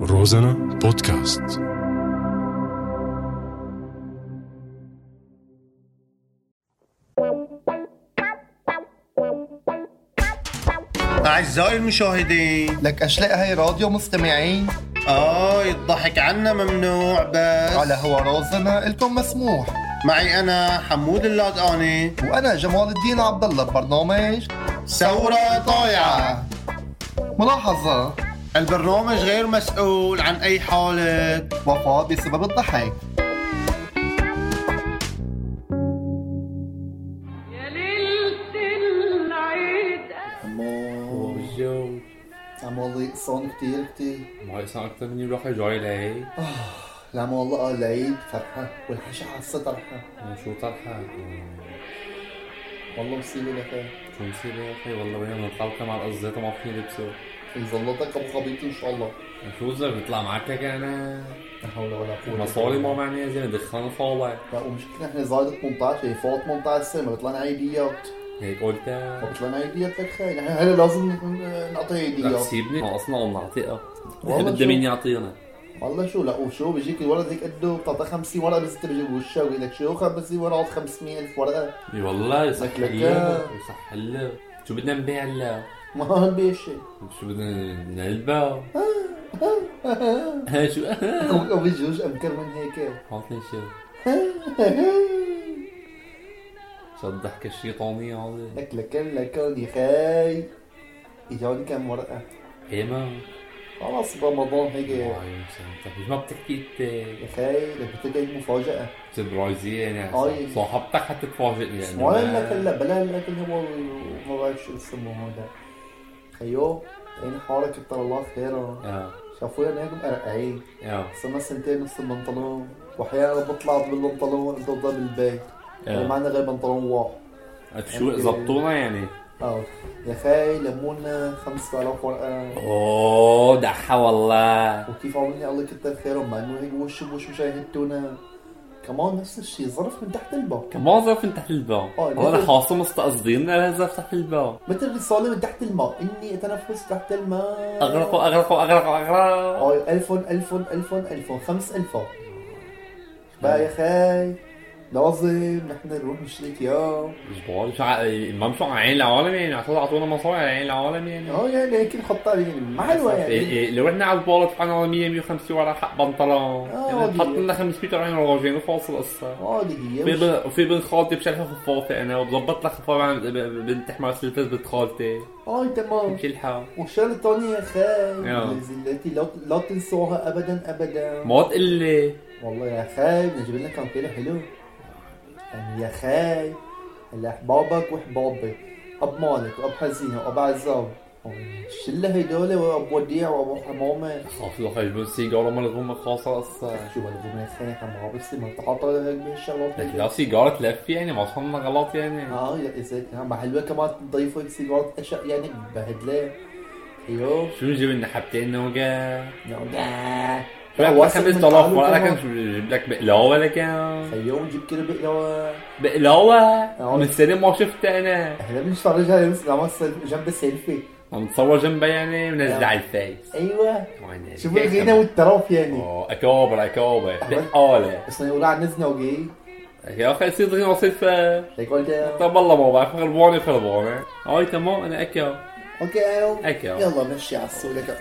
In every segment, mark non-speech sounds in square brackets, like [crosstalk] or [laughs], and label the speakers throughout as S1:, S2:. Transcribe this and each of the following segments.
S1: روزانا بودكاست
S2: أعزائي المشاهدين
S3: لك اشلاء هاي راديو مستمعين
S2: آه الضحك عنا ممنوع بس
S3: على هو رازنا الكم مسموح
S2: معي أنا حمود اللادقاني
S3: وانا جمال الدين عبد الله ببرنامج آه.
S2: ثورة طايعة
S3: ملاحظه
S2: البرنامج غير مسؤول عن أي حالة
S3: وفاه بسبب الضحك
S4: يا ليلة العيد
S3: الله
S5: والجو
S3: عم والله قصان كتير كتير
S5: ما يسمع أكتر مني بروح يرجعوا لهي
S3: العم والله قال العيد فرحة والحشا حاسة طرحة
S5: يعني شو طرحة
S3: والله مصيبة لك هاي.
S5: شو مصيبة يا أخي والله بينا من الحلقة مع القزيطة ما فيني لبسه
S3: يظلطك ابو خبيط ان شاء الله
S5: شو زر بيطلع معك هيك أنا
S3: لا حول ولا قوة
S5: مصاري ما معني يا زلمة دخان الفاضي
S3: لا ومشكلة احنا صاير 18 هي فوق 18 سنة ما بيطلعنا عيديات
S5: هيك قلت
S3: ما بيطلعنا عيديات لك خاي نحن هلا لازم نعطيها
S5: رح
S3: عيديات
S5: تسيبني ناقصنا قمنا نعطيها
S3: والله
S5: بدها
S3: شو.
S5: مين يعطينا
S3: والله شو لا وشو بيجيك الولد هيك قده بتعطيه 50 ورقه بس بيجيب وشها بيقول لك شو 50 ورقه عوض 500 الف ورقه
S5: إي والله يصح
S3: لك لك
S5: الله
S3: يا.
S5: يصح الله شو بدنا نبيع هلا
S3: ما هو بيشي
S5: شو بدنا
S3: [laughs]
S5: نلبى ها شو
S3: او بيجوز امكر من هيك
S5: عطني شو شو الضحكة الشيطانية هذه
S3: لك لكن لكن يا خاي اجاني كم ورقه
S5: ايمان
S3: خلاص برمضان هيك يا
S5: أيوة، فهمتك. مش ما بتحكي انت
S3: خاي لك قلت لك هيك مفاجاه
S5: سبرايزية يعني
S3: أيوة.
S5: صاحبتك حتتفاجئ يعني
S3: ولا لك هلا بلا لك هو ما بعرف شو اسمه هذا أيوه، خيو عين حارك كتر الله خيره
S5: اه
S3: شافونا هيك مرقعين
S5: اه
S3: صرنا سنتين نفس البنطلون واحيانا بطلع بالبنطلون انت بتضل بالبيت يعني ما
S5: اه
S3: عندنا غير بنطلون واحد
S5: شو زبطونا يعني
S3: اه يا خاي لمونا 5000 ورقه
S5: اوه دحا والله
S3: وكيف عملني الله كتر خيرهم مع انه هيك وش بوش مش هيهتونا كمان نفس الشيء ظرف من تحت الباب
S5: كمان زرف من تحت الباب
S3: آه،
S5: والله
S3: لكن-
S5: انا خاصة مستقصدين انا زرف تحت الباب
S3: مثل رساله من تحت الماء اني اتنفس تحت الماء
S5: اغرقوا اغرقوا اغرقوا اغرقوا
S3: اه الفون الفون الفون الفون خمس الفون بقى يا خاي لازم نحن نروح نشتري اياه
S5: جبال شو ع- ما مشوا على عين العالم يعني عشان اعطونا مصاري على عين العالم يعني
S3: اه يعني هيك نحطها يعني ما حلوه
S5: إيه
S3: يعني
S5: إيه، لو احنا على البول دفعنا 100 150 ورا حق بنطلون
S3: آه،
S5: يعني
S3: دي-
S5: حط لنا 500 ورا راجعين وفاصل القصه
S3: اه دي
S5: في
S3: هي
S5: بن في بنت خالتي بشلحة خفافة أنا وبظبط لها خفافة عن ب- بنت تحمل سلسلة بنت خالتي
S3: اه تمام
S5: بشلحة
S3: والشغله الثانيه يا
S5: آه.
S3: خاي زلتي لا لا تنسوها ابدا ابدا
S5: ما تقول لي
S3: والله يا خاي بدنا نجيب لك كامبين حلو يعني يا خاي هلا احبابك واحبابي اب مالك واب حزينه واب عزاب الشله هيدول واب وديع وابو حمامه
S5: خاف لو خرجوا سيجارة ما لهم خاصة قصة
S3: شو بدهم يا خاي حمام بس ما بتحطها هيك بالشغلات هيك.
S5: لا سيجارة تلف يعني ما صنع غلط يعني
S3: اه يا ازيك ما حلوه كمان تضيفوا هيك سيجارات اشياء يعني بهدله ايوه
S5: شو نجيب لنا حبتين نوجا
S3: نعم. يا
S5: شو لك خمس آلاف ولا كان شو نجيب لك بقلاوة لكن
S3: خيو أيوه، نجيب كده بقلاوة
S5: بقلاوة
S3: آه.
S5: من سنة ما شفتها أنا
S3: احنا بنتفرجها يمس نعمل سيل- جنب السيلفي
S5: متصور جنبها يعني منزل على الفيس
S3: ايوه
S5: وعندي-
S3: آه. شوفوا آه. الغنى والتراف يعني
S5: آه، أكابر أكابر بقالة
S3: بس يقولوا عن نزنا وجاي
S5: يا أخي سيد غنى وصيفة
S3: لك قلت
S5: طب والله ما بعرف خربانه خربانه هاي تمام انا اكل
S3: اوكي أيوة.
S5: اكل
S3: يلا مشي على السوق لك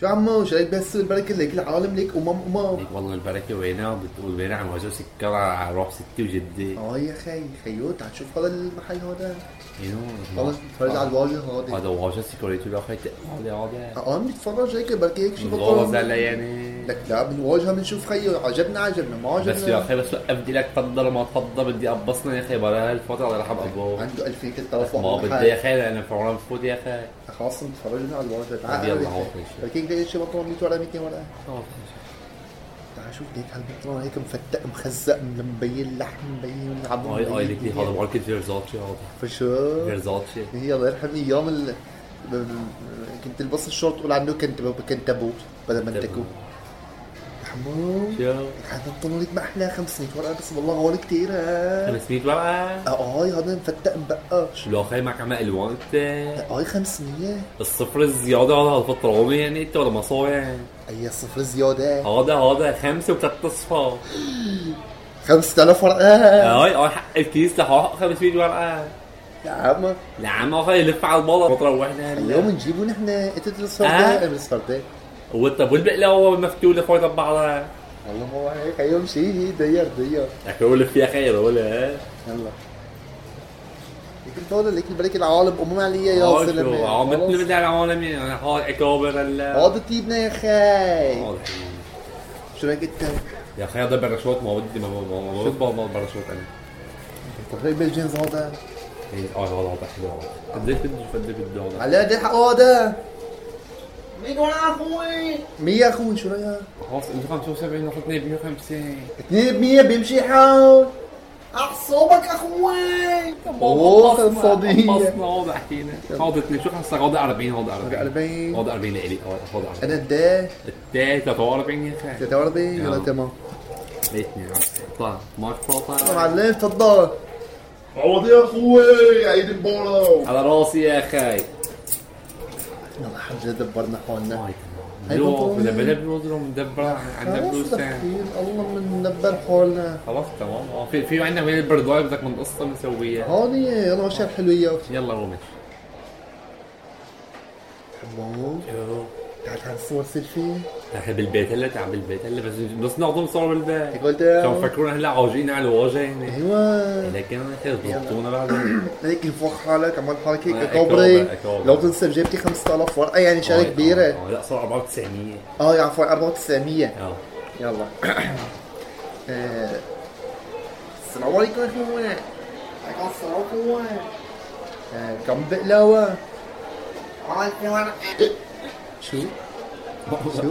S3: شو عمو شو لك بس البركه لك العالم لك امم امم
S5: ليك والله البركه وينها بتقول وينها عم وجه سكر على روح ستي وجدي
S3: اه يا خي خيو تعال شوف هذا المحل هذا
S5: ينو
S3: خلص تفرج على الواجهه هذا
S5: هذا واجه سكريتي باخي هذا هذا
S3: اه بنتفرج هيك بركي هيك شو بطل.
S5: غلظ علي يعني
S3: لك لا بنواجهها بنشوف خيو عجبنا عجبنا ما عجبنا
S5: بس يا اخي بس وقف لك تفضل ما تفضل بدي ابصنا يا اخي بلا هالفتره الله يرحم ابوه
S3: عنده 2000 كل طرف
S5: ما
S3: واحد
S5: بدي يا
S3: بالحال.
S5: اخي لانه فورا بفوت يا اخي
S3: خلاص تفرجنا على آه، الواجهه تعال
S5: بدي يلا
S3: يلا
S5: عوض شيء.
S3: لكن ليش شي بطلون 100 ورقه 200 ورقه تعال شوف ليك هالبطلون هيك مفتق مخزق مبين لحم مبين العظم
S5: هاي هاي
S3: مبين
S5: لك هذا
S3: دنيا.
S5: ماركت فيرزاتشي هذا
S3: فشو
S5: فيرزاتشي
S3: هي الله يرحمني ايام ال... ب- ب- كنت البس الشورت تقول عنه كنت كنت ابوه بدل ما انت كو حمو
S5: شو
S3: هذا مطلولك بأحلى 500 ورقة بس والله غالي كتير ها
S5: 500 ورقة
S3: اه اي هذا مفتق مبقاش
S5: لو خي معك عم الوان انت
S3: اي 500
S5: الصفر الزيادة هذا هالفترة عمري يعني انت ولا مصاري يعني
S3: اي صفر زيادة
S5: هذا هذا خمسة وثلاث اصفار
S3: 5000 ورقة
S5: هاي هاي حق الكيس لحق 500 ورقة
S3: يا عم
S5: لعم اخي يلف على البلا فترة يعني. وحدة
S3: اليوم
S5: هلا
S3: نجيبه نحن انت تدرس
S5: آه.
S3: فردة امرس فردة
S5: هو طب والبقلة هو مفتول لفوق بعضها
S3: والله ما هو هيك اليوم شيء دير دير
S5: لك هو اللي فيها خير ولا
S3: يلا لكن طول لكن بريك العالم امم علي يا زلمه
S5: اه عم
S3: خلاص.
S5: تلمد على العالمين انا يعني. آه، هاي آه، اكابر هلا
S3: عاد طيبنا يا خي
S5: واضح.
S3: شو رايك انت؟
S5: يا اخي هذا برشوت ما بدي ما ما ما- ما بقبل ما برشوت انا
S3: طب هيك بالجنس هذا
S5: إيه، اه هذا هذا حلو هذا قديش بده قد إيه بده هذا
S3: على قد حق هذا مين ولا اخوي؟ 100 اخوي شو رايك؟
S5: خلاص انت 75 ناخذ 250
S3: 2 ب 100 بيمشي حول
S6: اعصابك اخوي
S3: أوه،
S5: خلصنا،
S3: صديق.
S5: خلصنا هذا حكينا طيب، هذا اثنين شو خلصنا هذا 40 هذا 40
S3: 40.
S5: هذا 40 لإلي هذا 40
S3: انا قد
S5: 43 يا اخي
S3: 43 يلا
S5: يلا.
S3: تمام
S5: ليتني عم طلع ماك
S3: يا
S5: فوطة
S3: معلم تفضل
S6: عوض يا اخوي عيد مبارك
S5: على راسي يا اخي
S3: يلا الحمد لله دبرنا حالنا
S5: هاي
S3: هاي
S5: لو
S3: بطولة.
S5: بلا بلا بنوز لو مدبر عندنا
S3: أيوة، خلاص
S5: فلوس يعني.
S3: دبرين. الله من ندبر حالنا
S5: خلاص تمام آه، في في عندنا وين البرداية بدك بنقصها بنسويها
S3: هاني يلا ماشي الحلو اياك
S5: يلا رومي
S3: تمام تعال تعال صور سيلفي
S5: احنا بالبيت هلا تعال بالبيت هلا بس بس نعطيهم صور بالبيت
S3: قلت
S5: كانوا مفكرونا هلا عاجين على الواجهه يعني
S3: ايوه
S5: لكن اخي ضبطونا بعدين
S3: هيك فوق حالك عمال حالك
S5: آه،
S3: هيك
S5: أكابر،
S3: كوبري
S5: أكابر.
S3: لو تنسى جبتي 5000 ورقه يعني شغله
S5: آه،
S3: كبيره
S5: آه، لا صار 4900
S3: اه يا عفوا 4900
S5: اه
S3: [coughs] يلا آه، السلام عليكم يا اخوان
S6: عليكم السلام اخوي
S3: آه، كم بقلاوه
S6: عوض في ورقه
S3: شو؟ شو؟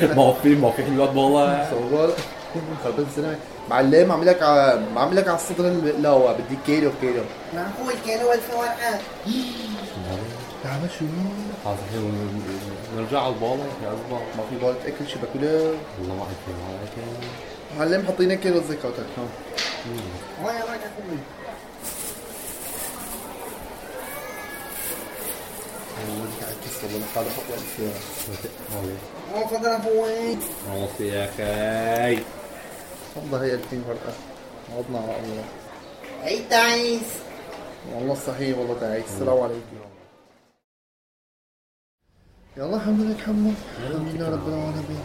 S5: [laughs] ما هو في ما في حلوات والله
S3: صور خربت السلامة معلم عم لك ع- عم لك على الصدر البقلاوه بدي كيلو كيلو
S6: يا اخوي كانوا الف ورقه
S3: تعال شو؟
S5: خلاص الحين نرجع على البالة يا اصبر
S3: ما في بالك اكل شو باكله
S5: والله ما حكينا عليك
S3: معلم حطينا كيلو طيب. زكاتك هون
S6: وين رايك اخوي
S3: والله عكس والله حاله حط لك فيها
S6: هو فضل اخوي
S5: خلاص يا اخي
S3: والله هي 2000 ورقة عضنا على الله
S6: عيد تعيس
S3: والله صحيح والله تعيس السلام عليكم يلا الحمد لله حمو الحمد لله رب العالمين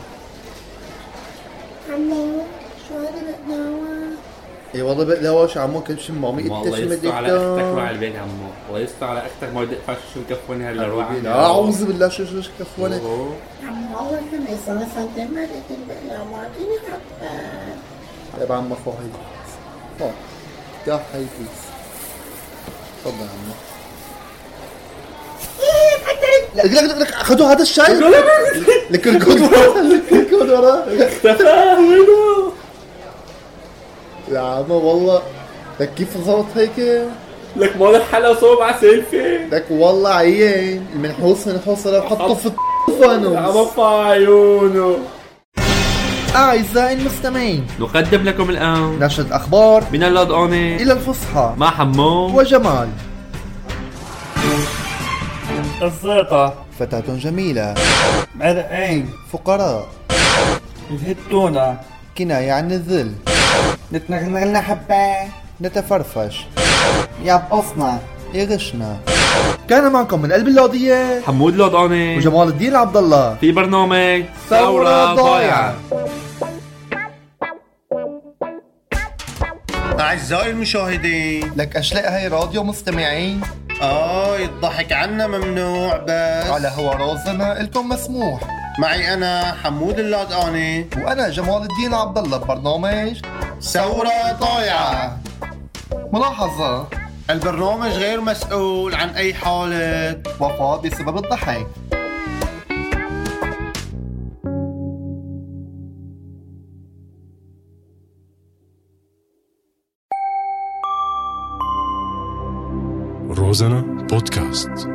S6: عمو شو هذا بقناوة
S3: اي والله بقلاوة شو عمو كل شي مامي انت
S5: الله
S3: شو
S5: يستر على اختك وعلى
S3: مدك
S5: البيت عمو الله يستر على اختك ما بدي اقفش شو مكفوني هلا روح
S3: لا
S5: [laughs]
S3: اعوذ بالله شو شو شو كفولة
S5: أوه.
S6: عمو اول كم يسوى سنتين ما لقيت البقناوة كيف حبها
S3: طيب عمو خو هيدي خو يا حيدي تفضل عمو لك لك لك- لك خذوا هذا الشاي لك ركض وراه لك ركض وراه
S5: اختفى وينه
S3: يا عم والله لك كيف ظبط هيك
S5: لك ما لك حلا صوب على سيلفي
S3: لك والله عيان المنحوس منحوس لو حطه في الفانوس
S5: عم عيونه
S3: أعزائي المستمعين
S5: نقدم لكم الان
S3: نشرة أخبار
S5: من اللود اوني
S3: إلى الفصحى
S5: مع حمو
S3: وجمال
S7: الزيطة
S3: فتاة جميلة
S7: مرقين
S3: فقراء
S7: الهتونة
S3: كناية عن الذل
S7: نتنغنغ لنا حبة
S3: نتفرفش
S7: يبقصنا
S3: يغشنا كان معكم من قلب اللوضية
S5: حمود لود اوني
S3: وجمال الدين عبد الله
S5: في برنامج
S3: ثورة ضايعة
S2: أعزائي المشاهدين
S3: لك أشلاء هاي راديو مستمعين
S2: آه الضحك عنا ممنوع بس
S3: على هو رازنا إلكم مسموح
S2: معي أنا حمود اللادقاني
S3: وأنا جمال الدين عبد الله ببرنامج
S2: ثورة طايعة
S3: ملاحظة
S2: البرنامج غير مسؤول عن أي حالة
S3: وفاة بسبب الضحك
S1: Розана подкаст.